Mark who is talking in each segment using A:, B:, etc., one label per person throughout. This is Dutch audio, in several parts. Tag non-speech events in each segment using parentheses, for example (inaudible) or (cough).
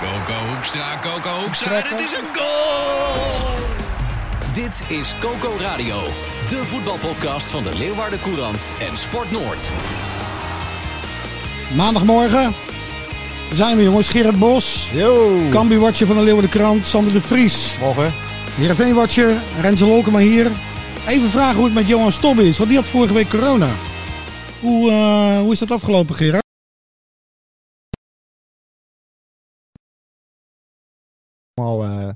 A: Coco Hoekstra, Coco Hoekstra,
B: Hoekstra,
A: het is een goal!
C: Dit is Coco Radio, de voetbalpodcast van de Leeuwarden Courant en Sport Noord.
B: Maandagmorgen zijn we jongens. Gerrit Bos,
D: Yo.
B: Cambi-watcher van de Leeuwarden Krant, Sander de Vries.
D: Morgen.
B: Heerenveen-watcher, Rensel Holkema hier. Even vragen hoe het met Johan Stob is, want die had vorige week corona. Hoe, eh, hoe is dat afgelopen, Gerard?
D: Allemaal eh,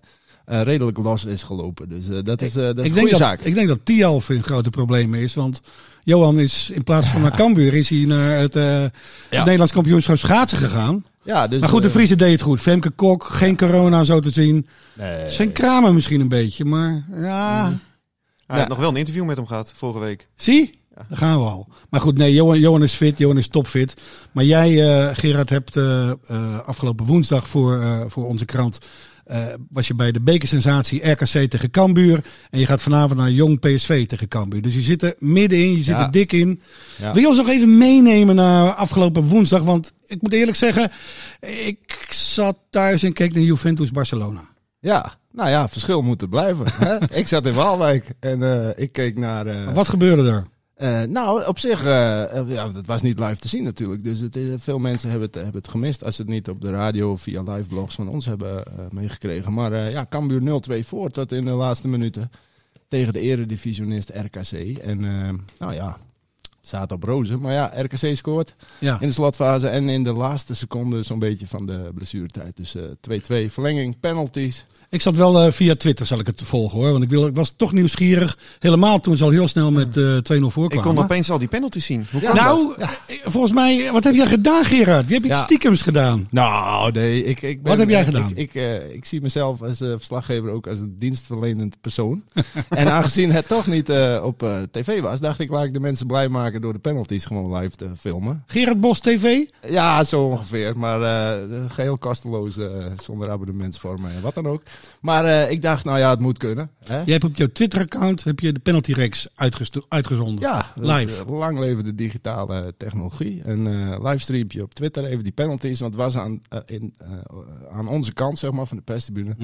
D: eh, redelijk los is gelopen. Dus eh, dat is, eh dat is
B: ik,
D: een
B: denk
D: goede
B: dat,
D: zaak.
B: ik denk dat Tialf in grote problemen is, want Johan is in plaats van naar Cambuur is hij naar het, eh, het Nederlands kampioenschap schaatsen gegaan.
D: Ja, dus,
B: Maar goed, de
D: eh,
B: Vriezen deed het goed. Femke Kok, geen corona zo te zien.
D: nee. Mhm.
B: Zijn kramen misschien een beetje, maar ja...
D: Ja.
E: Hij heeft nog wel een interview met hem gehad vorige week.
B: Zie? Daar gaan we al. Maar goed, nee, Johan, Johan is fit, Johan is topfit. Maar jij, eh, Gerard, hebt eh, eh, afgelopen woensdag voor, eh, voor onze krant... eh, was je bij de bekersensatie RKC tegen Cambuur. En je gaat vanavond naar Jong PSV tegen Cambuur. Dus je zit er middenin, je zit
D: Ja.
B: er dik in.
D: Ja.
B: Wil je ons nog even meenemen naar afgelopen woensdag? Want ik moet eerlijk zeggen, ik zat thuis en keek naar Juventus Barcelona.
D: Ja, nou ja, verschil moet er blijven.
B: (laughs)
D: hè? ik zat in Waalwijk en eh, ik keek naar... eh,
B: Wat gebeurde er?
D: eh, nou, op zich, eh, eh, ja, het was niet live te zien natuurlijk. Dus het is, veel mensen hebben het, hebben het gemist als ze het niet op de radio of via live blogs van ons hebben eh, meegekregen. Maar eh, ja, Cambuur 0-2 voor tot in de laatste minuten tegen de eredivisionist RKC. En eh, nou ja, het staat op rozen. Maar ja, RKC scoort.
B: Ja.
D: In de slotfase en in de laatste seconde zo'n beetje van de blessuretijd. Dus eh, 2-2 verlenging, penalties.
B: Ik zat wel eh, via Twitter, zal ik het volgen hoor. Want ik, wil, ik was toch nieuwsgierig. Helemaal toen ze al heel snel met eh 2-0 voorkwamen.
E: Ik kon opeens al die penalties zien. Hoe kan dat?
B: nou, eh, volgens mij, wat heb jij gedaan Gerard? Je hebt iets
D: Ja.
B: stiekems gedaan.
D: Nou, nee. Ik, ik ben,
B: Wat heb jij
D: ik-
B: gedaan?
D: Ik, ik, eh, ik zie mezelf als eh, verslaggever ook als een dienstverlenend persoon. (laughs) en aangezien het toch niet eh, op eh, tv was, dacht ik, laat ik de mensen blij maken door de penalties gewoon live te filmen.
B: Gerard Bos TV?
D: Ja, zo ongeveer. Maar eh, geheel kosteloos, eh, zonder abonnementsvormen en wat dan ook. Maar eh, ik dacht, nou ja, het moet kunnen. Hè?
B: Jij hebt op jouw Twitter-account heb je de penalty-reeks uitgesto- uitgezonden.
D: Ja,
B: Live.
D: eh, lang leven de digitale technologie. En eh livestreampje op Twitter even die penalties. Want het was aan, eh, in, eh, aan onze kant, zeg maar, van de perstribune.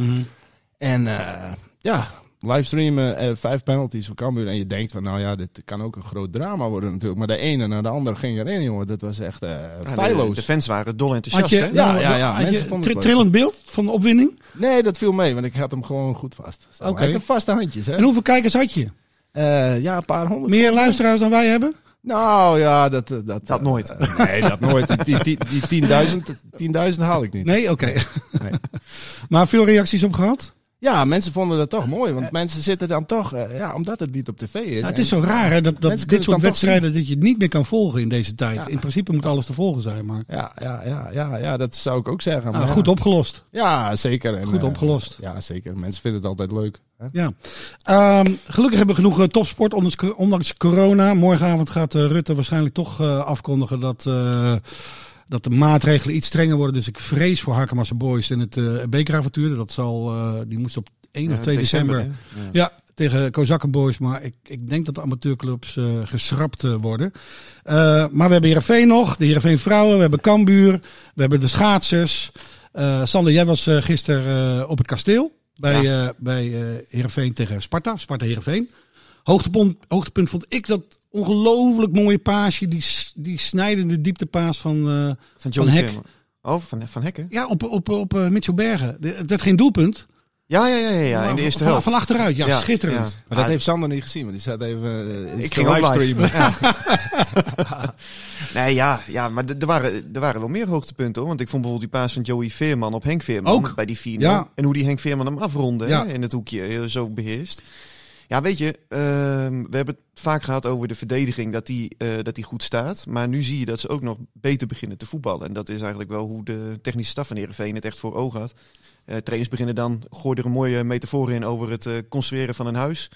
D: En eh, ja, livestreamen, eh, vijf penalties voor Cambuur. En je denkt van, nou ja, dit kan ook een groot drama worden natuurlijk. Maar de ene naar de andere ging erin, jongen. Dat was echt eh
E: Ja, de-
D: feilloos.
E: de, fans waren dol enthousiast,
B: Had je,
E: hè?
D: Ja, ja, ja.
B: had je
D: Mensen vonden het
B: tri-
D: leuk.
B: trillend beeld van de opwinding?
D: Nee, dat viel mee, want ik had hem gewoon goed vast. Zo,
B: Oké.
D: Ik heb vaste handjes, hè.
B: En hoeveel kijkers had je?
D: Eh, ja, een paar honderd.
B: Meer luisteraars dan wij hebben?
D: Nou ja, dat... eh, Dat,
E: Dat
D: eh,
E: nooit.
D: eh, nee, dat nooit. Die, die, die, die 10.000 10.000 haal ik niet.
B: Nee, oké. (laughs)
D: Nee.
B: maar veel reacties op gehad?
D: Ja, mensen vonden dat toch mooi. Want mensen zitten dan toch... eh, ja, omdat het niet op tv is.
B: Ja, Nou, het is zo raar hè,
D: Mensen
B: dat, dat
D: kunnen
B: dit
D: het dan
B: soort
D: toch
B: wedstrijden dat je het niet meer kan volgen in deze tijd.
D: Ja.
B: In principe moet alles te volgen zijn, maar
D: Ja, ja, ja, ja, ja, dat zou ik ook zeggen.
B: nou,
D: maar
B: goed
D: ja.
B: opgelost.
D: Ja, zeker. En,
B: Goed
D: eh,
B: opgelost.
D: ja, zeker. Mensen vinden het altijd leuk. hè?
B: Ja. Ehm, gelukkig hebben we genoeg eh, topsport, ondanks, ondanks corona. Morgenavond gaat eh, Rutte waarschijnlijk toch eh, afkondigen dat, eh, dat de maatregelen iets strenger worden. Dus ik vrees voor Hakemasse Boys en het eh bekeravontuur. Dat zal, eh, die moest op 1
E: Ja,
B: of 2 december.
E: hè? Ja.
B: Ja, tegen Kozakken Boys. Maar ik, ik denk dat de amateurclubs eh, geschrapt eh, worden. Eh, maar we hebben Heerenveen nog. De Heerenveen Vrouwen. We hebben Kambuur. We hebben de schaatsers. Eh, Sander, jij was eh gisteren eh, op het kasteel. Bij, eh bij eh, Heerenveen tegen Sparta. Sparta Heerenveen. Hoogtepunt, hoogtepunt vond ik dat ongelooflijk mooie paasje. Die, s- die snijdende dieptepaas van... eh,
E: Van Johnny
B: Hek.
E: Veerman. Oh, van, van Hekken?
B: ja, op, op, op eh, Mitchell Bergen. De- Het werd geen doelpunt.
E: Ja, ja, ja, ja, ja, in
B: maar
E: de eerste
B: van,
E: helft.
B: Van achteruit, ja.
E: Ja,
B: schitterend.
E: ja.
D: Maar
E: Ah,
D: dat heeft Sander niet gezien, want die zat even... eh, is
E: Ik
D: te
E: ging ook
D: livestreamen. (laughs)
E: live. Ja.
B: (laughs)
E: nee, ja, ja maar d- er waren, er waren wel meer hoogtepunten, hoor. Want ik vond bijvoorbeeld die paas van Joey Veerman op Henk Veerman.
B: Ook.
E: Bij die 4
B: Ja.
E: En hoe die Henk Veerman hem afronde
B: Ja.
E: eh, hè, in het hoekje. Heel zo beheerst. Ja, weet je, ehm, we hebben het vaak gehad over de verdediging, dat die, eh, dat die goed staat. Maar nu zie je dat ze ook nog beter beginnen te voetballen. En dat is eigenlijk wel hoe de technische staf van Heerenveen het echt voor ogen had. Eh, trainers beginnen dan, gooi er een mooie metafoor in over het eh, construeren van een huis.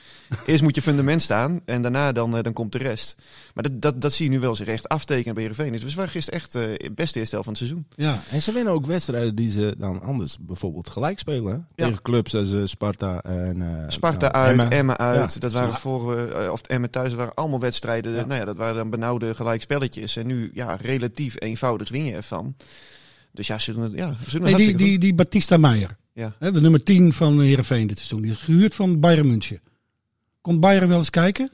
E: Eerst moet je fundament staan en daarna dan, eh, dan komt de rest. Maar dat, dat, dat zie je nu wel zich echt aftekenen bij Heerenveen. Dus we waren gisteren echt eh, het beste eerste helft van het seizoen.
D: Ja, en ze winnen ook wedstrijden die ze dan anders bijvoorbeeld gelijk spelen. hè?
E: Ja.
D: Tegen clubs als eh, Sparta en... eh,
E: Sparta
D: nou,
E: uit,
D: Emmen.
E: Emmen uit.
D: Ja.
E: Dat waren
D: Ja.
E: voor, eh, of Emmen thuis, dat waren allemaal wedstrijden. Nou ja, dat waren dan benauwde gelijkspelletjes. En nu, ja, relatief eenvoudig win je ervan. Dus ja, ze doen het, ja, ze doen het
B: Nee, die,
E: hartstikke
B: die, die Batista Meijer,
E: goed. Ja.
B: hè, de nummer 10 van Heerenveen dit seizoen. Die is gehuurd van Bayern München. Komt Bayern wel eens kijken?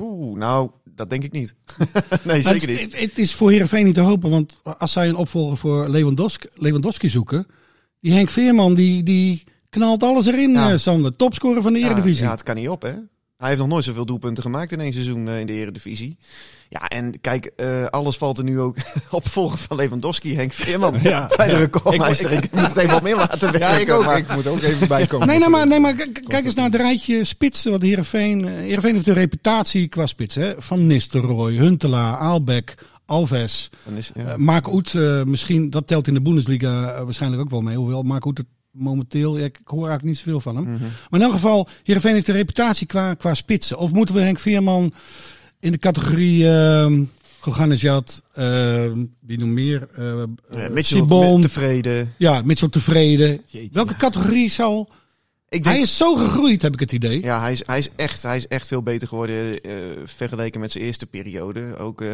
E: Oeh, nou, dat denk ik niet. (laughs) nee,
B: Maar
E: zeker
B: het,
E: niet.
B: Het, het is voor Heerenveen niet te hopen, want als zij een opvolger voor Lewandowski, Lewandowski zoeken... Die Henk Veerman, die, die knalt alles erin,
E: Ja.
B: eh, Sander. Topscorer van de
E: Ja,
B: Eredivisie.
E: ja, het kan niet op, hè. Hij heeft nog nooit zoveel doelpunten gemaakt in één seizoen eh, in de Eredivisie. Ja, en kijk, eh, alles valt er nu ook (laughs) op volgen van Lewandowski, Henk Veerman.
D: Ja,
E: bij de
D: ja.
E: recordmeister. Ik, moet het even wat meer laten werken.
D: Ja, ik ook.
E: maar-
D: Ik moet ook even bijkomen.
B: Nee, nee, maar, nee, maar k- k- kijk eens naar het rijtje spitsen. Wat Heerenveen, eh, Heerenveen heeft een reputatie qua spitsen. Hè? Van Nistelrooy, Huntelaar, Aalbeck, Alves.
E: Dan is- ja.
B: Eh, Mark Oet eh, misschien, dat telt in de Bundesliga eh, waarschijnlijk ook wel mee. Hoewel Mark Oet het momenteel, ja, ik hoor eigenlijk niet zoveel van hem.
E: Mhm.
B: Maar in elk geval, Heerenveen heeft een reputatie qua, qua spitsen. Of moeten we Henk Veerman in de categorie... ehm Goganejad, ehm wie noem meer? eh
E: Eh,
B: eh,
E: Mitchell
B: Sibon.
E: tevreden.
B: ja, Mitchell tevreden.
D: Jeetje,
B: Welke categorie zal...
E: Ik denk,
B: Hij is zo gegroeid, heb ik het idee.
E: Ja, hij is, hij, is echt, hij is echt veel beter geworden eh, vergeleken met zijn eerste periode. Ook, eh,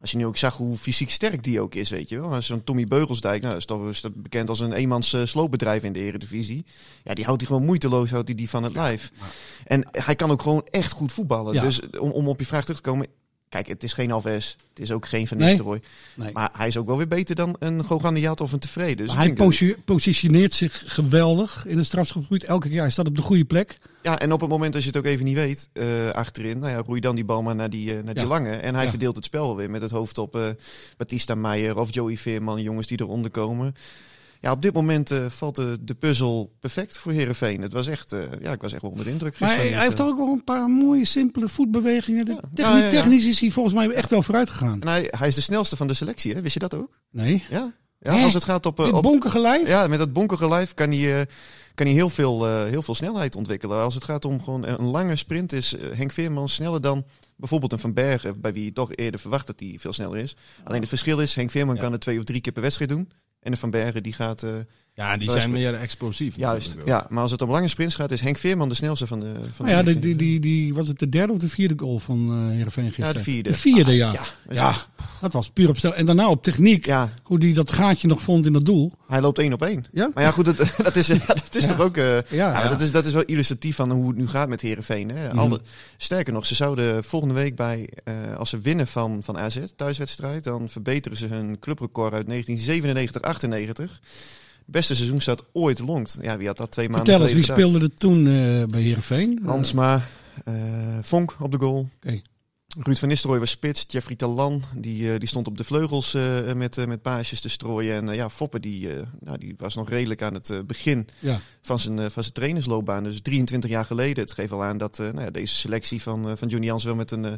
E: als je nu ook zag hoe fysiek sterk die ook is, weet je wel. Als Zo'n Tommy Beugelsdijk, nou, is toch is dat bekend als een eenmans eh, sloopbedrijf in de eredivisie. Ja, die houdt hij gewoon moeiteloos houdt die, die van het lijf. En hij kan ook gewoon echt goed voetballen.
B: Ja.
E: Dus om, om op je vraag terug te komen... Kijk, het is geen Alves. Het is ook geen Van
B: Nee.
E: Nistelrooy.
B: Nee.
E: Maar hij is ook wel weer beter dan een Goganiat of een Tevreden. Dus
B: hij
E: ik denk dat-
B: posi- positioneert zich geweldig in het strafschopgebied. Elke keer, hij staat op de goede plek.
E: Ja, en op het moment dat je het ook even niet weet, eh, achterin, nou ja, roei dan die bal maar naar die, eh, naar die
B: Ja.
E: lange. En hij
B: Ja.
E: verdeelt het spel weer met het hoofd op eh Batista Meijer of Joey Veerman, jongens die eronder komen. Ja, op dit moment eh, valt de, de puzzel perfect voor Herenveen. Het was echt, eh, ja, ik was echt wel onder de indruk
B: Maar
E: gisteren.
B: hij, hij heeft
E: Dus, eh,
B: toch ook wel een paar mooie, simpele voetbewegingen. De
E: Ja.
B: techni-
E: Ja, ja, ja.
B: Technisch is hij volgens mij echt wel vooruit gegaan.
E: En hij, hij is de snelste van de selectie, hè? wist je dat ook?
B: Nee.
E: Ja, ja
B: Hè?
E: als het gaat op... eh,
B: Dit
E: op
B: bonkige lijf.
E: ja, met dat bonkige lijf kan hij, eh, kan hij heel, veel, eh, heel veel snelheid ontwikkelen. Als het gaat om gewoon een lange sprint, is eh, Henk Veerman sneller dan bijvoorbeeld een Van Bergen, bij wie je toch eerder verwacht dat hij veel sneller is. Alleen het verschil is, Henk Veerman kan het twee of drie keer per wedstrijd doen. En de Van Bergen die gaat. eh,
D: Ja, die zijn meer explosief.
E: juist.
D: natuurlijk ook.
E: Ja, maar als het om lange sprints gaat, is Henk Veerman de snelste van de. Van
B: Nou ja,
E: de
B: die, die, die, die- was het de derde of de vierde goal van eh Heerenveen gisteren?
E: de vierde. Ah,
B: De vierde, ja.
E: ja.
B: ja. dat was puur op stel. En daarna op techniek.
E: Ja.
B: Hoe die dat gaatje nog vond in dat doel.
E: Hij loopt één op één.
B: Ja?
E: Maar ja, goed, dat, (laughs) dat is, ja, dat is toch ook. eh, ja, maar
B: ja. Mhm.
E: Dat, is, dat is wel illustratief van hoe het nu gaat met Herenveen. Hè? Alle, sterker nog, ze zouden volgende week bij, eh, als ze winnen van, van AZ, thuiswedstrijd, dan verbeteren ze hun clubrecord uit 1997-98. Beste seizoen staat ooit longt. Ja, wie had dat twee maanden
B: Vertel eens, wie
E: geleden
B: speelde er toen eh, bij Heerenveen?
E: gedaan? Hansma, eh Vonk op de goal.
B: Oké.
E: Ruud van Nistelrooy was spits. Jeffrey Talan die, eh, die stond op de vleugels eh, met, eh met paasjes te strooien. En eh, ja, Foppe die, eh, nou, die was nog redelijk aan het eh, begin
B: Ja.
E: van zijn, eh, van zijn trainersloopbaan. Dus 23 jaar geleden. Het geeft al aan dat eh, nou ja, deze selectie van, eh, van Johnny Jans wel met een eh,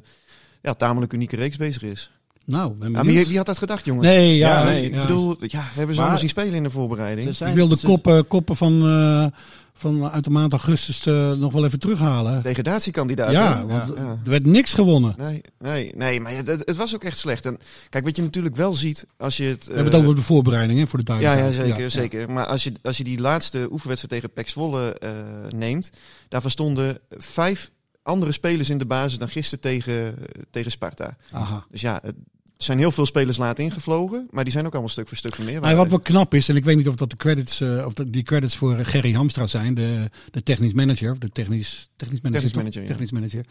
E: ja, tamelijk unieke reeks bezig is.
B: Nou, ben
E: Ja,
B: benieuwd.
E: wie, wie had dat gedacht, jongen?
B: Nee, ja.
D: Ja, nee,
E: Ik
B: ja.
E: bedoel, ja, we hebben ze
D: Maar-
E: allemaal zien spelen in de
D: Ze
E: voorbereiding.
D: zijn-
B: Ik wil de
D: ze-
B: koppen, koppen van, eh, van uit de maand augustus eh, nog wel even terughalen.
E: Degradatiekandidaat.
B: Ja,
E: hè?
B: want
E: Ja.
B: er werd niks gewonnen.
E: Nee, nee, nee, maar het, het- het was ook echt slecht. En kijk, wat je natuurlijk wel ziet als je het. eh,
B: We hebben het over de voorbereiding hè, voor de
E: Ja, ja
B: duidelijkheid.
E: zeker. zeker. Maar als je, als je die laatste oefenwedstrijd tegen Pek Zwolle eh, neemt, daarvan stonden vijf andere spelers in de basis dan gisteren tegen, eh, tegen Sparta.
B: Aha.
E: Dus ja, het zijn heel veel spelers laat ingevlogen, maar die zijn ook allemaal stuk voor stuk meer.
B: Maar wat wel knap is, en ik weet niet of dat de credits, eh, of dat die credits voor eh, Gerry Hamstra zijn, de, de technisch manager, of de technisch, technisch manager.
E: Technisch
B: toch?
E: manager, ja.
B: Technisch manager.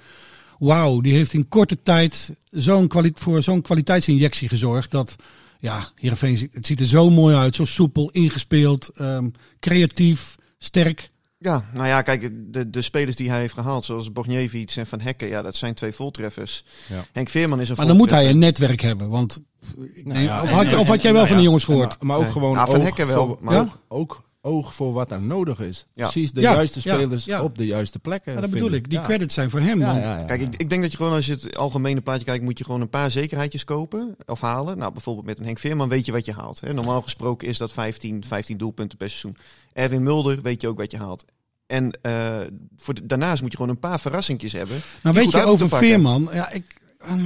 B: Wauw, die heeft in korte tijd zo'n kwali- voor zo'n kwaliteitsinjectie gezorgd dat, ja, Heerenveen, ziet- het ziet er zo mooi uit, zo soepel, ingespeeld, ehm, creatief, sterk.
E: Ja, nou ja, kijk, de, de spelers die hij heeft gehaald, zoals Bogniewicz en Van Hekken, ja, dat zijn twee voltreffers.
D: Ja.
E: Henk Veerman is een
B: Maar dan moet hij
E: voltreffer.
B: een netwerk hebben, want ik
D: Nou
B: neem-
D: ja,
B: of,
D: en-
B: had, of had jij wel
D: nou
B: van
D: ja,
B: de jongens
D: en-
B: gehoord?
D: Maar, maar ook
E: Nee.
D: gewoon.
E: Ja, Van
D: oog
E: Hekken wel,
D: voor-
E: maar
D: ja?
E: ook-
D: ook oog voor wat er nodig is.
E: Ja.
D: Precies de
B: Ja,
D: juiste
B: ja,
D: spelers
B: ja.
D: op de juiste plekken.
B: Ja, dat
D: vind
B: bedoel ik.
D: ik.
B: Die
D: Ja.
B: credits zijn voor hem.
D: Ja,
B: want
D: ja, ja.
E: Kijk, ik, ik denk dat je gewoon als je het algemene plaatje kijkt, moet je gewoon een paar zekerheidjes kopen of halen. Nou, bijvoorbeeld met een Henk Veerman weet je wat je haalt. Hè. Normaal gesproken is dat 15, 15 doelpunten per seizoen. Erwin Mulder weet je ook wat je haalt. En eh, voor de- daarnaast moet je gewoon een paar verrassingjes hebben.
B: Nou,
E: die
B: weet
E: goed
B: je
E: uit te
B: over
E: pakken.
B: Veerman? Ja, ik, ehm,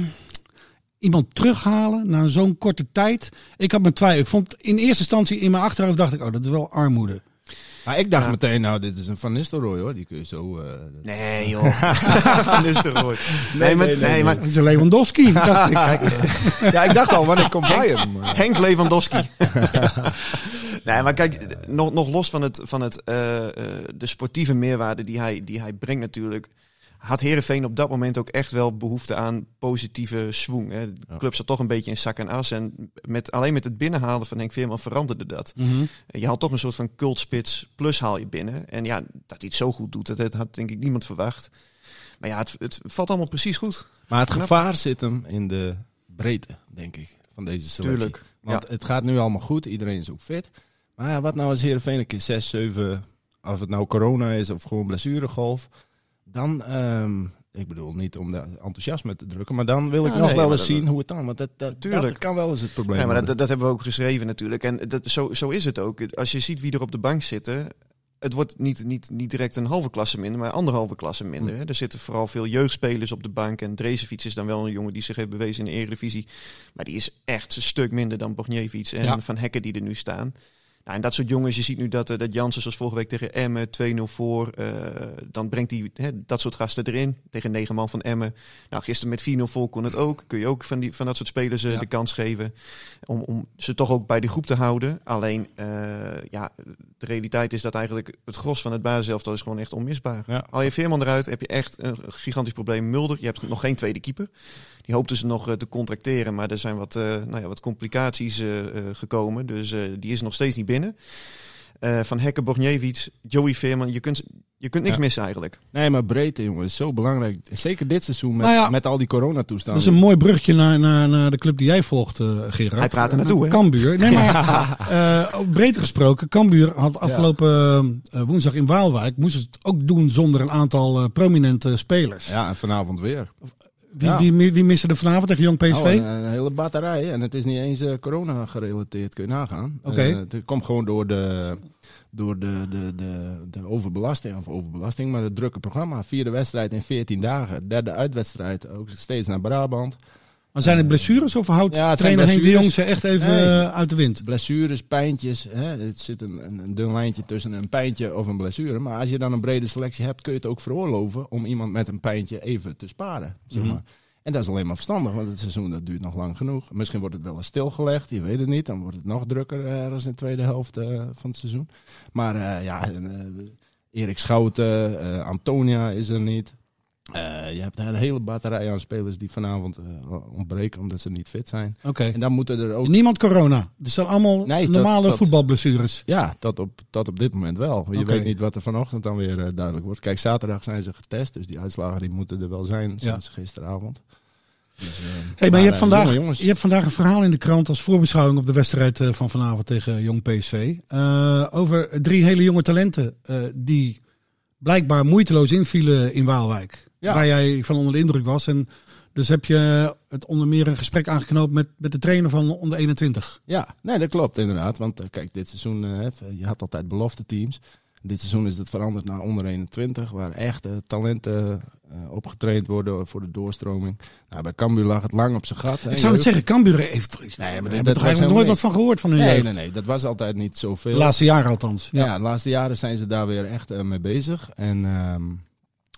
B: iemand terughalen na zo'n korte tijd. Ik had mijn twijfel. Ik vond in eerste instantie in mijn achterhoofd dacht ik, oh, dat is wel armoede.
D: Maar ik dacht
E: Ja.
D: meteen, nou, dit is een Van Nistelrooy hoor. Die kun je zo... eh, dat-
E: Nee, joh. (laughs) Van Nistelrooy. Nee, maar,
D: nee, nee,
E: nee, maar
B: Dat is (laughs) Lewandowski. dacht ik.
D: ja, ik dacht al, wanneer komt hij hem? eh? Maar-
E: Henk Lewandowski. nee, maar kijk, d- nog, nog los van, het, van het, eh, eh, de sportieve meerwaarde die hij, die hij brengt natuurlijk... had Herenveen op dat moment ook echt wel behoefte aan positieve swoon. Hè. De
D: Ja.
E: club zat toch een beetje in zak en as. En met, alleen met het binnenhalen van Henk Veerman veranderde dat. Je had toch een soort van cultspits plus haal je binnen. En ja, dat hij het zo goed doet, dat, dat had denk ik niemand verwacht. Maar ja, het, het valt allemaal precies goed.
D: Maar het gevaar zit hem in de breedte, denk ik, van deze selectie.
E: Tuurlijk.
D: Want het gaat nu allemaal goed, iedereen is ook fit. Maar ja, wat nou als Heerenveen een keer 6, 7, of het nou corona is of gewoon blessuregolf. Dan, ehm, ik bedoel niet om daar enthousiasme te drukken, maar dan wil ik
E: Ja,
D: nog
E: nee,
D: wel
E: maar
D: eens
E: dat-
D: zien hoe het dan. Want dat, dat,
E: Tuurlijk.
D: dat kan wel eens het probleem
E: Ja, maar dat-
D: worden.
E: dat, dat hebben we ook geschreven natuurlijk. En dat, zo, zo is het ook. Als je ziet wie er op de bank zitten... Het wordt niet, niet, niet direct een halve klasse minder, maar anderhalve klasse minder. hè. Er zitten vooral veel jeugdspelers op de bank. En Drezefiets is dan wel een jongen die zich heeft bewezen in de Eredivisie. Maar die is echt een stuk minder dan Bogniewicz en
B: Ja.
E: Van Hekken die er nu staan. Nou, en dat soort jongens, je ziet nu dat, eh, dat Jansen zoals vorige week tegen Emmen 2-0 voor. eh, dan brengt hij hè, dat soort gasten erin tegen negen man van Emmen. Nou, gisteren met 4-0 voor kon het ook. Kun je ook van, die, van dat soort spelers eh,
B: Ja.
E: de kans geven om, om ze toch ook bij de groep te houden. Alleen, eh, ja, de realiteit is dat eigenlijk het gros van het basiselftal is gewoon echt onmisbaar.
D: Ja.
E: Al je Veerman eruit, heb je echt een gigantisch probleem. Mulder, je hebt nog geen tweede keeper. Die hoopten ze nog eh, te contracteren, maar er zijn wat, eh, nou ja, wat complicaties eh, eh, gekomen. Dus eh, die is nog steeds niet binnen. Eh, van Hekken, Borgniewicz, Joey Veerman, je kunt, je kunt niks
D: Ja.
E: missen eigenlijk.
D: Nee, maar breedte, jongen, is zo belangrijk. Zeker dit seizoen met,
B: Nou ja,
D: met al die
B: Dat
D: coronatoestanden.
B: is een mooi brugje naar, naar, naar de club die jij volgt, eh, Gerard.
E: Hij praat er naartoe, hè?
B: Kambuur. Nee, maar eh breed gesproken, Kambuur had afgelopen eh, woensdag in Waalwijk... moest het ook doen zonder een aantal eh, prominente spelers.
D: Ja, en vanavond weer.
B: Wie,
D: Ja.
B: wie, wie, wie miste er vanavond tegen Jong PSV?
D: Nou, een, een hele batterij. En het is niet eens eh, corona gerelateerd, kun je nagaan.
B: Oké.
D: Eh, het komt gewoon door de, door de, de, de, de overbelasting, of overbelasting, maar het drukke programma. Vierde wedstrijd in 14 dagen. Derde uitwedstrijd, ook steeds naar Brabant.
B: Maar zijn het blessures of houdt
D: Ja, het zijn
B: trainer Henk de Jong
D: blessures.
B: ze echt even
D: Nee.
B: eh, uit de wind?
D: Blessures, pijntjes. Hè? Het zit een, een, een dun lijntje tussen een pijntje of een blessure. Maar als je dan een brede selectie hebt, kun je het ook veroorloven om iemand met een pijntje even te sparen. Zeg maar. En dat is alleen maar verstandig, want het seizoen dat duurt nog lang genoeg. Misschien wordt het wel eens stilgelegd, je weet het niet. Dan wordt het nog drukker eh, ergens in de tweede helft eh, van het seizoen. Maar eh, ja, en, eh, Erik Schouten, eh, Antonia is er niet. Eh, je hebt een hele batterij aan spelers die vanavond eh, ontbreken omdat ze niet fit zijn.
B: Oké.
D: En dan moeten er ook
B: Niemand corona. Het zijn allemaal
D: Nee, dat-
B: normale
D: dat-
B: voetbalblessures.
D: ja, dat op, dat op dit moment wel. Je
B: Oké.
D: weet niet wat er vanochtend dan weer eh, duidelijk wordt. Kijk, zaterdag zijn ze getest, dus die uitslagen die moeten er wel zijn sinds gisteravond. Dus, eh,
B: Hey, maar je, hebt
D: eh,
B: vandaag,
D: jongen, jongens,
B: je hebt vandaag een verhaal in de krant als voorbeschouwing op de wedstrijd eh, van vanavond tegen Jong PSV. Eh, over drie hele jonge talenten eh, die blijkbaar moeiteloos invielen in Waalwijk.
D: Ja.
B: Waar jij van onder de indruk was. En dus heb je het onder meer een gesprek aangeknoopt met, met de trainer van onder 21.
D: Ja, nee, dat klopt inderdaad. Want eh, kijk, dit seizoen, eh, je had altijd belofte teams. Dit seizoen is het veranderd naar onder 21, waar echt eh, talenten eh, opgetraind worden voor de doorstroming. Nou, bij Cambuur lag het lang op zijn gat. hè,
B: Ik zou
D: jeugd.
B: het zeggen, Cambuur heeft... Nee,
D: maar
B: maar
D: dat- dat
B: daar hebben we toch
D: was
B: eigenlijk
D: helemaal
B: nooit wat van gehoord van hun
D: Nee,
B: jeugd?
D: nee, nee, dat was altijd niet
B: De
D: zoveel.
B: laatste jaren althans.
D: Nou Ja, de laatste jaren zijn ze daar weer echt eh, mee bezig. En, ehm,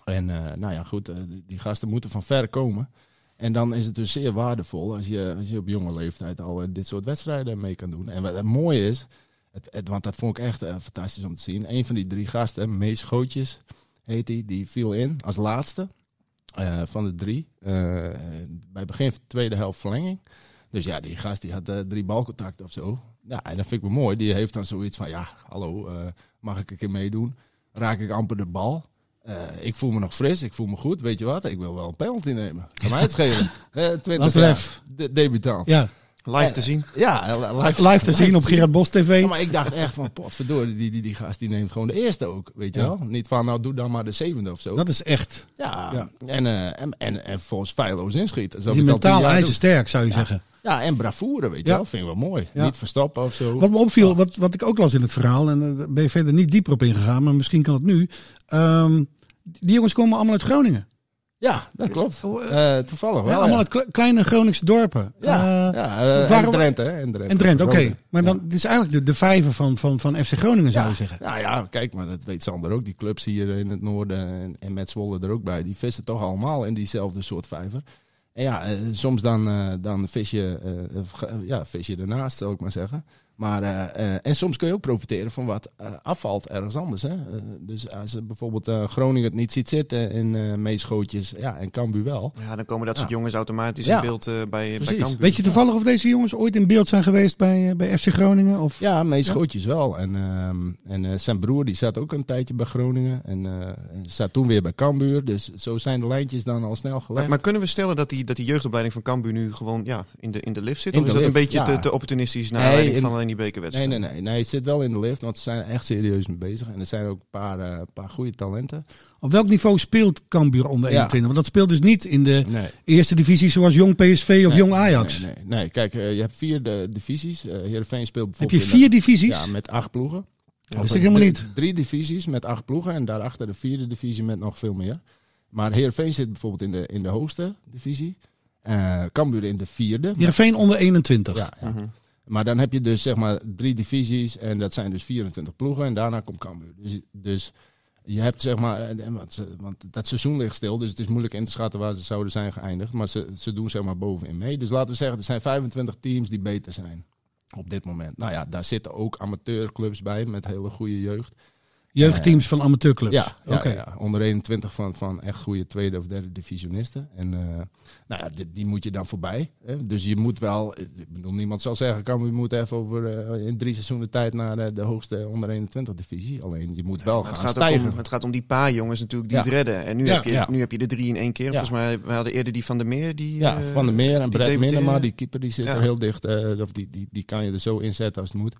D: en eh, nou ja, goed, eh, die- die gasten moeten van ver komen. En dan is het dus zeer waardevol als je, als je op jonge leeftijd al eh, dit soort wedstrijden mee kan doen. En wat het mooie is, het, het- want dat vond ik echt eh, fantastisch om te zien. Een van die drie gasten, Mees Gootjes heet die, die viel in als laatste eh, van de drie. Eh, bij begin van de tweede helft verlenging. Dus ja, die gast die had eh, drie balcontacten of zo. Ja, en dat vind ik wel mooi. Die heeft dan zoiets van, ja, hallo, eh, mag ik een keer meedoen? Raak ik amper de bal? Eh, ik voel me nog fris, ik voel me goed,
B: (laughs)
D: weet je wat? Ik wil wel een penalty nemen. Kan mij het schelen. Eh, 20
B: Dat is
D: jaar,
B: lef.
D: de- debutant.
B: Ja,
E: live te zien.
D: Ja, eh, li-
B: Live, live te zien op Gerard Bos TV.
D: Ja, maar ik dacht echt van, potverdorie, die, die, die gast die neemt gewoon de eerste ook, weet je
B: Ja.
D: wel. Niet van, nou doe dan maar de zevende of zo.
B: Dat is echt.
D: ja,
B: ja.
D: En, eh, en, en, en volgens feilloos inschieten. Zo
B: Die
D: heb ik dat tien
B: mentale
D: jaar
B: eisen sterk, zou je
D: doe.
B: zeggen.
D: Ja. ja, en bravoure, weet je
B: Ja.
D: wel. Vind ik wel mooi.
B: Ja.
D: Niet verstoppen of zo.
B: Wat me opviel, wat, wat ik ook las in het verhaal, en eh, daar ben je verder niet dieper op ingegaan, maar misschien kan het nu. Ehm, die jongens komen allemaal uit Groningen.
D: Ja, dat klopt. Eh, toevallig
B: Ja,
D: wel.
B: allemaal
D: ja.
B: uit kle- kleine Groningse dorpen.
D: Ja,
B: Eh,
D: ja, eh,
B: waarom-
D: en Drenthe. hè, En Drenthe,
B: En Drenthe, oké.
D: Groningen.
B: Maar dan
D: Ja.
B: dit is eigenlijk de, de vijver van, van, van FC Groningen, zou je zeggen.
D: Nou ja, kijk, maar dat weet Sander ook. Die clubs hier in het noorden en, en met Zwolle er ook bij, die vissen toch allemaal in diezelfde soort vijver. En ja, eh, soms dan, eh, dan vis, je, eh, of ge- ja, vis je ernaast, zal ik maar zeggen. Maar, eh, eh, en soms kun je ook profiteren van wat eh, afvalt ergens anders. Hè? Eh, dus als eh, bijvoorbeeld eh, Groningen het niet ziet zitten in eh meeschootjes, ja, en Cambuur wel.
E: Ja, dan komen dat
D: Ja.
E: soort jongens automatisch
D: Ja.
E: in beeld eh, bij, bij
D: Precies.
E: Cambuur.
B: Weet je toevallig of deze jongens ooit in beeld zijn geweest bij, eh, bij FC Groningen? Of...
D: Ja, meeschootjes wel. En, ehm, en eh, zijn broer die zat ook een tijdje bij Groningen. En eh, en zat toen weer bij Cambuur. Dus zo zijn de lijntjes dan al snel gelegd.
E: Maar, maar kunnen we stellen dat die, dat die jeugdopleiding van Cambuur nu gewoon ja, in, de, in de lift zit?
D: In
E: Of is
D: de
E: dat een
D: lift,
E: beetje
D: ja.
E: te, te opportunistisch naar
D: Nee,
E: aanleiding
D: in-
E: van alleen die
D: Nee,
E: bekerwedstrijd?
D: nee, nee. Nee, het zit wel in de lift. Want ze zijn er echt serieus mee bezig. En er zijn ook een paar, eh, paar goede talenten.
B: Op welk niveau speelt Cambuur onder
D: Ja.
B: 21? Want dat speelt dus niet in de
D: Nee.
B: eerste divisie zoals Jong PSV of
D: Nee,
B: Jong Ajax.
D: Nee, nee, nee. kijk, eh, je hebt vier eh, divisies. Eh Heerenveen speelt
B: Heb je
D: bijvoorbeeld... in
B: vier
D: de-
B: divisies?
D: Ja, met acht ploegen.
B: dat
D: Of
B: wist ik helemaal
D: drie-
B: niet.
D: Drie divisies met acht ploegen en daarachter de vierde divisie met nog veel meer. Maar Heerenveen zit bijvoorbeeld in de, in de hoogste divisie. Eh Cambuur in de vierde. Maar,
B: Heerenveen onder 21.
D: ja, ja. maar dan heb je dus zeg maar drie divisies en dat zijn dus 24 ploegen. En daarna komt Cambuur. Dus, dus je hebt zeg maar, eh, en want, ze- want dat seizoen ligt stil, dus het is moeilijk in te schatten waar ze zouden zijn geëindigd. Maar ze, ze doen zeg maar bovenin mee. Dus laten we zeggen, er zijn 25 teams die beter zijn op dit moment. Nou ja, daar zitten ook amateurclubs bij met hele goede jeugd.
B: Jeugdteams van amateurclubs.
D: Ja, ja,
B: Oké.
D: ja. onder 21 van, van echt goede tweede of derde divisionisten. En eh, nou ja, die, die moet je dan voorbij. Hè? Dus je moet wel, ik bedoel, niemand zal zeggen, kan, we moeten even over eh, in drie seizoenen tijd naar eh, de hoogste onder 21 divisie. Alleen je moet wel
E: Maar
D: gaan
E: Het gaat, ook
D: stijgen.
E: om, eh, het gaat om die paar jongens natuurlijk die
D: Ja.
E: het redden. En nu,
B: Ja,
E: heb je,
D: ja.
E: nu heb je de drie in één keer. Volgens mij we hadden eerder die Van der Meer. Die,
D: ja,
E: eh,
D: Van der Meer en
E: die
D: Brett
E: debuteerde.
D: Minema, die keeper, die zit
E: Ja.
D: er heel dicht. eh, of die, die, die kan je er zo inzetten als het moet.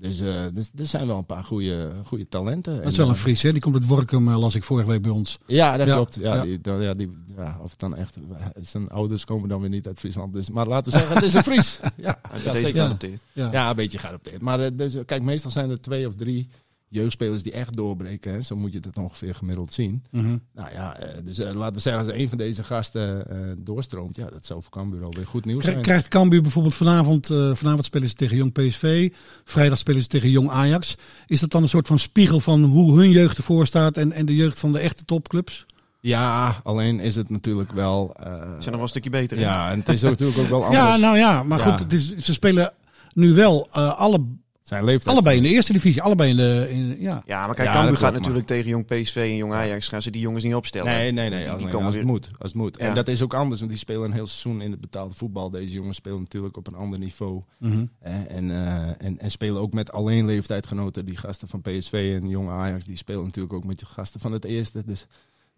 D: Dus eh, dus er zijn wel een paar goede, goede talenten.
B: Dat is wel een
D: eh,
B: Fries, hè? Die komt uit Workum, eh, las ik vorige week bij ons.
D: Ja, dat
B: Ja,
D: klopt. Ja,
B: ja.
D: Die, dan, ja, die, ja, of het dan echt. Zijn ouders komen dan weer niet uit Friesland. Dus, maar laten we zeggen, het is een
B: (laughs)
D: Fries. Ja,
E: Ah,
D: ja,
E: deze
D: zeker.
B: wel.
E: geadopteerd.
B: Ja.
D: ja, een beetje geadopteerd. Maar eh, dus, eh, kijk, meestal zijn er twee of drie jeugdspelers die echt doorbreken. Hè. Zo moet je dat ongeveer gemiddeld zien.
B: Mhm.
D: Nou ja, eh, dus eh, laten we zeggen, als een van deze gasten eh, doorstroomt, ja, dat zou voor Cambuur alweer goed nieuws
B: Kri-
D: zijn.
B: Krijgt Cambuur bijvoorbeeld vanavond, eh, vanavond spelen ze tegen Jong PSV, vrijdag spelen ze tegen Jong Ajax. Is dat dan een soort van spiegel van hoe hun jeugd ervoor staat en, en de jeugd van de echte topclubs?
D: Ja, alleen is het natuurlijk wel. eh,
E: Zijn nog wel een stukje beter. hè?
D: ja, en het is natuurlijk ook wel anders.
B: Ja, nou ja, maar
D: Ja.
B: goed, het is, ze spelen nu wel eh, alle,
D: Zijn leeftijd.
B: allebei in de eerste divisie, allebei in de... In, ja.
E: Ja, maar kijk,
D: Ja,
E: Cambuur
D: dat
E: gaat
D: klopt,
E: natuurlijk tegen jong PSV en jong Ajax. Gaan ze die jongens niet opstellen?
D: Nee, nee, nee.
E: Die-
D: Als,
E: die
D: nee,
E: komen
D: als het
E: weer-
D: moet. Als het moet.
E: Ja.
D: En dat is ook anders, want die spelen een heel seizoen in het betaalde voetbal. Deze jongens spelen natuurlijk op een ander niveau.
B: Mhm.
D: hè, En, eh, en, en spelen ook met alleen leeftijdgenoten. Die gasten van PSV en jonge Ajax, die spelen natuurlijk ook met de gasten van het eerste. Dus,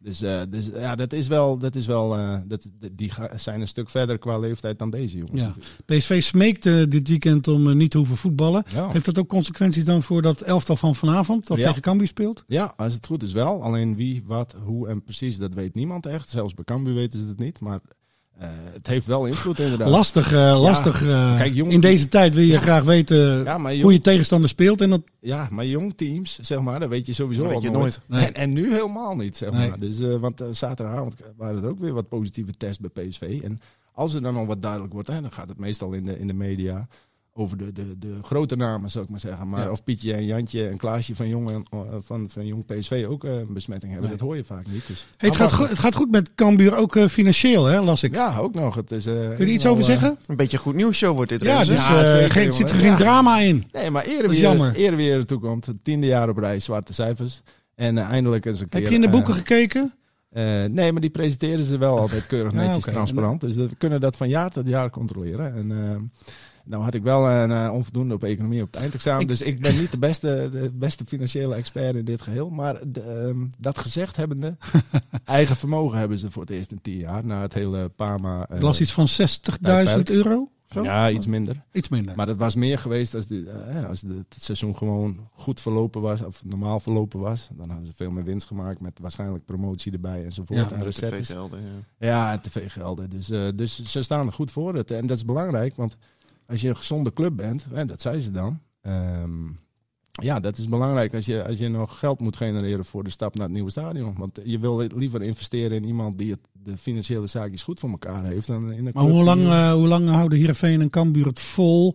D: dus, eh, dus ja, dat is wel. Dat is wel eh, dat, die ga- zijn een stuk verder qua leeftijd dan deze jongens.
B: Ja.
D: natuurlijk.
B: PSV smeekt eh, dit weekend om eh, niet te hoeven voetballen.
D: Ja.
B: Heeft dat ook consequenties dan voor dat elftal van vanavond, dat
D: Ja.
B: tegen Cambuur speelt?
D: Ja, als het goed is wel. Alleen wie, wat, hoe en precies, dat weet niemand echt. Zelfs bij Cambuur weten ze het niet. Maar eh, het heeft wel invloed inderdaad.
B: Lastig, eh, lastig. eh,
D: Kijk, jong-
B: in deze tijd wil je graag weten
D: Ja, maar
B: hoe
D: jong-
B: je tegenstander speelt. En dat,
D: Ja, maar jong teams, zeg maar, dat weet je sowieso
E: Dat
D: al
E: weet je
B: nooit. Nee.
D: En, en nu helemaal niet, zeg
B: Nee.
D: maar. Dus, eh, want eh, zaterdagavond waren er ook weer wat positieve tests bij PSV. En als er dan al wat duidelijk wordt, hè, dan gaat het meestal in de, in de media over de, de, de grote namen, zou ik maar zeggen. Maar
B: Ja.
D: of Pietje en Jantje en Klaasje van Jong, en, eh, van, van jong PSV ook eh, een besmetting hebben,
B: Nee.
D: dat hoor je vaak niet. Dus.
B: hey, het, gaat goed, het gaat goed met Cambuur, ook eh, financieel, hè, las ik.
D: Ja, ook nog. Het is, eh,
B: Kun je er iets
D: helemaal,
B: over
D: eh,
B: zeggen?
E: Een beetje een goed nieuws show wordt dit.
B: Ja,
E: Rens, hè?
B: dus
D: ja,
B: eh,
D: zeker,
B: geen,
D: jongen.
B: zit er geen
D: Ja.
B: drama in.
D: Nee, maar eer
B: is jammer.
D: weer, eer weer er toekomt. Het tiende jaar op rij, zwarte cijfers. En eh, eindelijk eens een keer...
B: Heb je in de
D: eh,
B: boeken gekeken?
D: Eh, nee, maar die presenteren ze wel altijd keurig
B: (laughs) Ja,
D: netjes
B: Ah, oké.
D: transparant. Dus dat- we kunnen dat van jaar tot jaar controleren. En eh, nou had ik wel een eh, onvoldoende op economie op het eindexamen.
B: Ik-
D: Dus ik ben niet de beste, de beste financiële expert in dit geheel. Maar de, ehm, dat gezegd
B: (laughs)
D: hebbende, eigen vermogen hebben ze voor het eerst in tien jaar. Na het hele Pama. eh,
B: Ik las iets van 60.000
D: Tijdperk.
B: euro. Zo?
D: Ja, iets minder.
B: Iets minder.
D: Maar dat was meer geweest als, de, eh, als de, het seizoen gewoon goed verlopen was, of normaal verlopen was. Dan hadden ze veel meer winst gemaakt met waarschijnlijk promotie erbij enzovoort.
B: Ja.
D: en recettes.
E: TV-gelden, ja.
D: Ja, en tv-gelden. Dus, eh, dus ze staan er goed voor. Het. En dat is belangrijk, want als je een gezonde club bent, hè, dat zijn ze dan. ehm, ja, dat is belangrijk als je, als je nog geld moet genereren voor de stap naar het nieuwe stadion. Want je wil li- liever investeren in iemand die het, de financiële zaakjes goed voor elkaar heeft. Dan in een
B: Maar
D: club
B: hoe lang,
D: die-
B: eh, hoe lang houden Heerenveen en Cambuur het vol?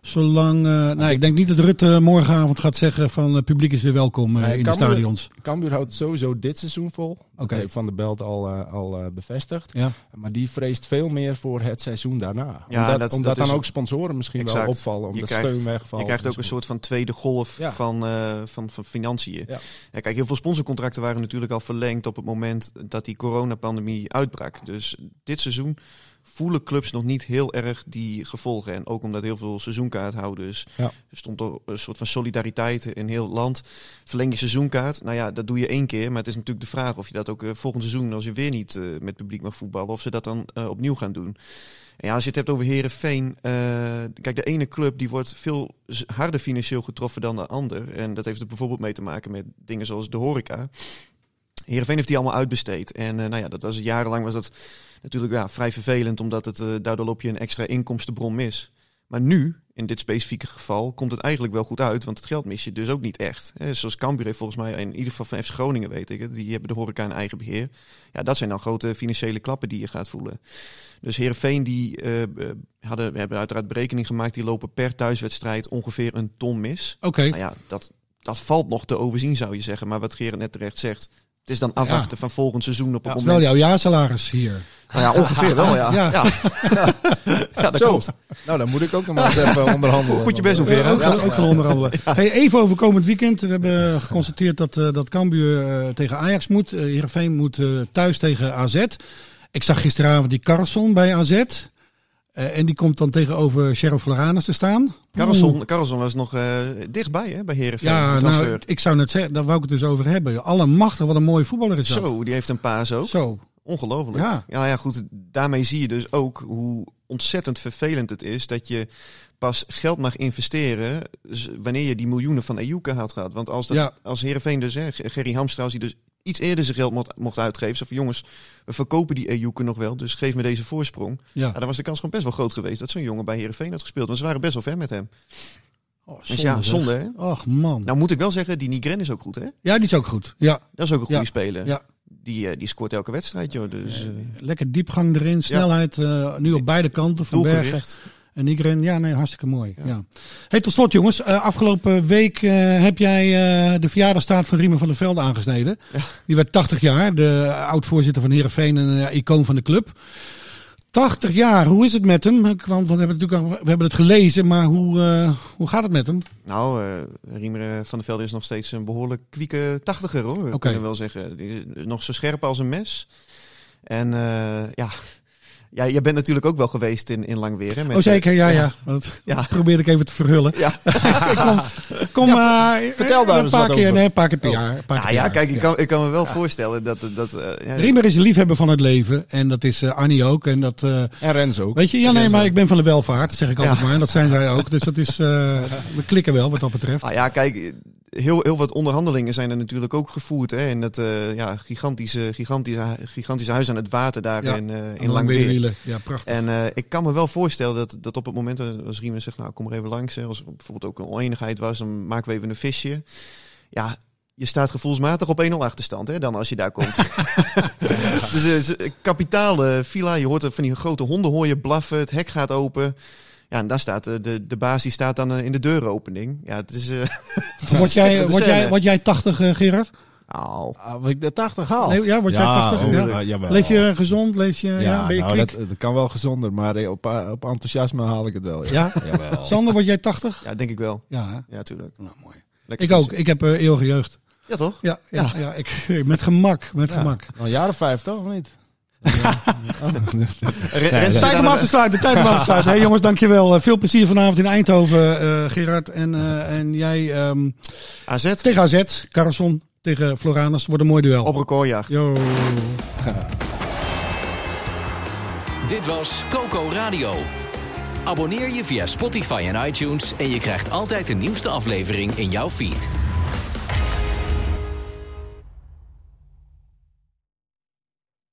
B: Zolang, eh, nou, ik denk niet dat Rutte morgenavond gaat zeggen van eh, publiek is weer welkom eh,
D: Nee,
B: in de
D: Cambuur-
B: stadions.
D: Cambuur houdt sowieso dit seizoen vol. Dat
B: Oké.
D: heeft Van der Belt al, eh, al eh, bevestigd.
B: Ja.
D: Maar die vreest veel meer voor het seizoen daarna.
E: Ja,
D: omdat
E: dat-
D: omdat
E: dat is-
D: dan ook sponsoren misschien wel
E: Exact.
D: opvallen. Omdat
E: krijgt-
D: steun wegvalt.
E: Je krijgt ook een
D: enzovoort.
E: soort van tweede golf
D: Ja.
E: van, eh, van, van financiën.
D: Ja.
E: Ja. kijk, heel veel sponsorcontracten waren natuurlijk al verlengd op het moment dat die coronapandemie uitbrak. Dus dit seizoen voelen clubs nog niet heel erg die gevolgen. En ook omdat heel veel seizoenkaarthouders...
D: Ja.
E: stond er een soort van solidariteit in heel het land. Verleng je seizoenkaart, nou ja, dat doe je één keer. Maar het is natuurlijk de vraag of je dat ook eh, volgend seizoen... als je weer niet eh, met publiek mag voetballen... of ze dat dan eh, opnieuw gaan doen. En ja, als je het hebt over Herenveen. kijk, de ene club die wordt veel z- harder financieel getroffen dan de ander. En dat heeft er bijvoorbeeld mee te maken met dingen zoals de horeca. Herenveen heeft die allemaal uitbesteed. En eh, nou ja, dat was, jarenlang was dat natuurlijk ja, vrij vervelend, omdat het, eh, daardoor loop je een extra inkomstenbron mis. Maar nu, in dit specifieke geval, komt het eigenlijk wel goed uit, want het geld mis je dus ook niet echt. Hè, zoals Cambuur heeft volgens mij, in ieder geval van FC Groningen weet ik het, die hebben de horeca in eigen beheer. Ja, dat zijn dan grote financiële klappen die je gaat voelen. Dus Heerenveen die eh, eh, hadden, we hebben uiteraard berekening gemaakt, die lopen per thuiswedstrijd ongeveer een ton mis.
B: Oké,
E: Nou ja, dat, dat valt nog te overzien zou je zeggen, maar wat Gerard net terecht zegt, het is dan afwachten van volgend seizoen op het
B: dat is wel
E: moment.
B: jouw jaarsalaris hier.
E: Nou (laughs) ja, ongeveer wel, ja.
B: Ja.
E: Ja, ja. dat
D: Zo.
E: klopt.
D: Nou, dan moet ik ook nog maar eens
B: (laughs)
D: even onderhandelen.
E: Goed je best doen,
D: Want, eh,
E: Vera.
B: ook,
E: Ja.
B: van, ook van onder andere. Hey, even over komend weekend. We hebben geconstateerd dat, eh, dat Cambuur eh, tegen Ajax moet. Eh, Heerenveen moet eh, thuis tegen AZ. Ik zag gisteravond die Carlson bij AZ. Eh, en die komt dan tegenover Sheriff Floranus te staan.
E: Karlsson, Karlsson was nog eh, dichtbij hè, bij Herenveen.
B: Ja, nou,
E: transfer.
B: ik- ik zou net zeggen, daar wou ik het dus over hebben. Allemachtig, wat een mooie voetballer is dat.
E: Zo, die heeft een paas ook.
B: Zo.
E: Ongelooflijk.
B: Ja.
E: Ja. ja, goed. Daarmee zie je dus ook hoe ontzettend vervelend het is dat je pas geld mag investeren z- wanneer je die miljoenen van Ejuke had gehad. Want als, dat,
B: Ja.
E: als Heerenveen dus, hè, Gerry Hamstraus, die dus iets eerder zijn geld mocht, mocht uitgeven. Ze van jongens, we verkopen die Ejuke nog wel, dus geef me deze voorsprong.
B: Ja.
E: Ja, dan was de kans gewoon best wel groot geweest dat zo'n jongen bij Heerenveen had gespeeld. Want ze waren best wel ver met hem.
B: Oh,
E: Dus ja,
B: zeg.
E: zonde hè.
B: Och man.
E: Nou moet ik wel zeggen, die Nigren is ook goed hè.
B: Ja, die is ook goed. Ja,
E: Dat is ook een goede
B: Ja,
E: speler.
B: ja.
E: Die, eh, die scoort elke wedstrijd joh. Dus eh,
B: lekker diepgang erin, snelheid eh, nu op beide kanten. Van Bergen
E: doelgericht.
B: en Nigren. Ja, nee, hartstikke mooi. Ja. Hey, tot slot jongens. Eh, afgelopen week eh, heb jij eh, de verjaardagstaart van Riemen van der Velde aangesneden. Die werd 80 jaar. De oud-voorzitter van Heerenveen en eh, icoon van de club. 80 jaar, hoe is het met hem? Want we hebben, het natuurlijk, al- we hebben het gelezen, maar hoe, eh, hoe gaat het met hem?
E: Nou, eh Riemer van der Velde is nog steeds een behoorlijk kwieke tachtiger hoor,
B: Oké.
E: kunnen we wel zeggen. Die is nog zo scherp als een mes. En eh, ja. ja, jij bent natuurlijk ook wel geweest in, in Langweer. Hè, met- eh,
B: Oh zeker, ja, ja.
E: Ja.
B: Dat
E: Ja.
B: probeerde ik even te verhullen. (laughs)
E: Ja.
B: Kom maar. eh,
D: vertel daar
B: een
D: eens
B: paar
D: wat
B: keer,
D: over.
B: Nee, een paar keer per jaar. een paar
E: Nou
B: keer per
E: ja,
B: jaar.
E: kijk, ik kan, ik kan me wel voorstellen dat... dat eh, ja,
B: Riemer is een liefhebber van het leven. En dat is eh, Annie ook. En dat, eh,
D: En Renzo.
B: weet je, ja, nee, maar ik ben van de welvaart, zeg ik altijd
E: Ja.
B: maar. En dat zijn zij ook. Dus dat is, eh, we klikken wel wat dat betreft.
E: Nou ja, kijk, heel, heel wat onderhandelingen zijn er natuurlijk ook gevoerd. Hè, in dat eh, ja, gigantische, gigantische, hu- gigantische huis aan het water daar
B: Ja,
E: in, eh,
B: En
E: in
B: dan
E: Langweer.
B: wielen. Ja, prachtig.
E: En eh, ik kan me wel voorstellen dat, dat op het moment dat- als Riemen zegt, nou kom er even langs. Hè, als er bijvoorbeeld ook een oneenigheid was, dan maken we even een visje. Ja, je staat gevoelsmatig op 1-0 achterstand hè, dan als je daar komt.
B: (laughs)
E: dus eh, ze- kapitaal eh, villa, je hoort er van die grote honden hoor je blaffen, het hek gaat open. Ja, en daar staat eh, de, de baas, die staat dan eh, in de deuropening. Ja, het is... eh, (laughs)
B: word, jij,
E: schitterende
B: word, jij,
E: scène.
B: word jij 80, eh, Gerard?
E: Au.
D: Ah, wat ik de 80 haal.
B: Nee, ja, word jij 80? Ja.
D: oh, jawel.
B: Leef je gezond? Leef je, ja,
D: Ja,
B: ben je
D: nou,
B: kwiek?
D: dat, dat kan wel gezonder, maar eh, op, eh, op enthousiasme haal ik het wel. Ja.
B: Ja?
D: (laughs) Jawel.
B: Sander, word jij 80?
E: Ja, denk ik wel.
B: Ja, hè?
E: Ja, tuurlijk.
B: nou mooi.
E: Lekker
B: Ik ook.
E: fietsen.
B: Ik heb eh, eeuwige jeugd.
E: Ja, toch?
B: Ja, ja, ja. ik, (laughs) met gemak. Met
D: Ja.
B: gemak.
D: Al een jaar of vijf, toch? Of
B: (laughs)
D: niet?
E: Ren- Ren-
D: nee.
E: zit
B: Tijd
E: aan
B: om
E: de-
B: af te sluiten, tijd om af te sluiten. Hey, jongens, dankjewel. Eh, Veel plezier vanavond in Eindhoven, eh, Gerard. En, eh, en jij ehm,
E: AZ,
B: tegen AZ, Carlson tegen Floranus. Wordt een mooi duel.
E: op recordjacht.
B: Yo.
C: Dit was Coco Radio. Abonneer je via Spotify en iTunes en je krijgt altijd de nieuwste aflevering in jouw feed.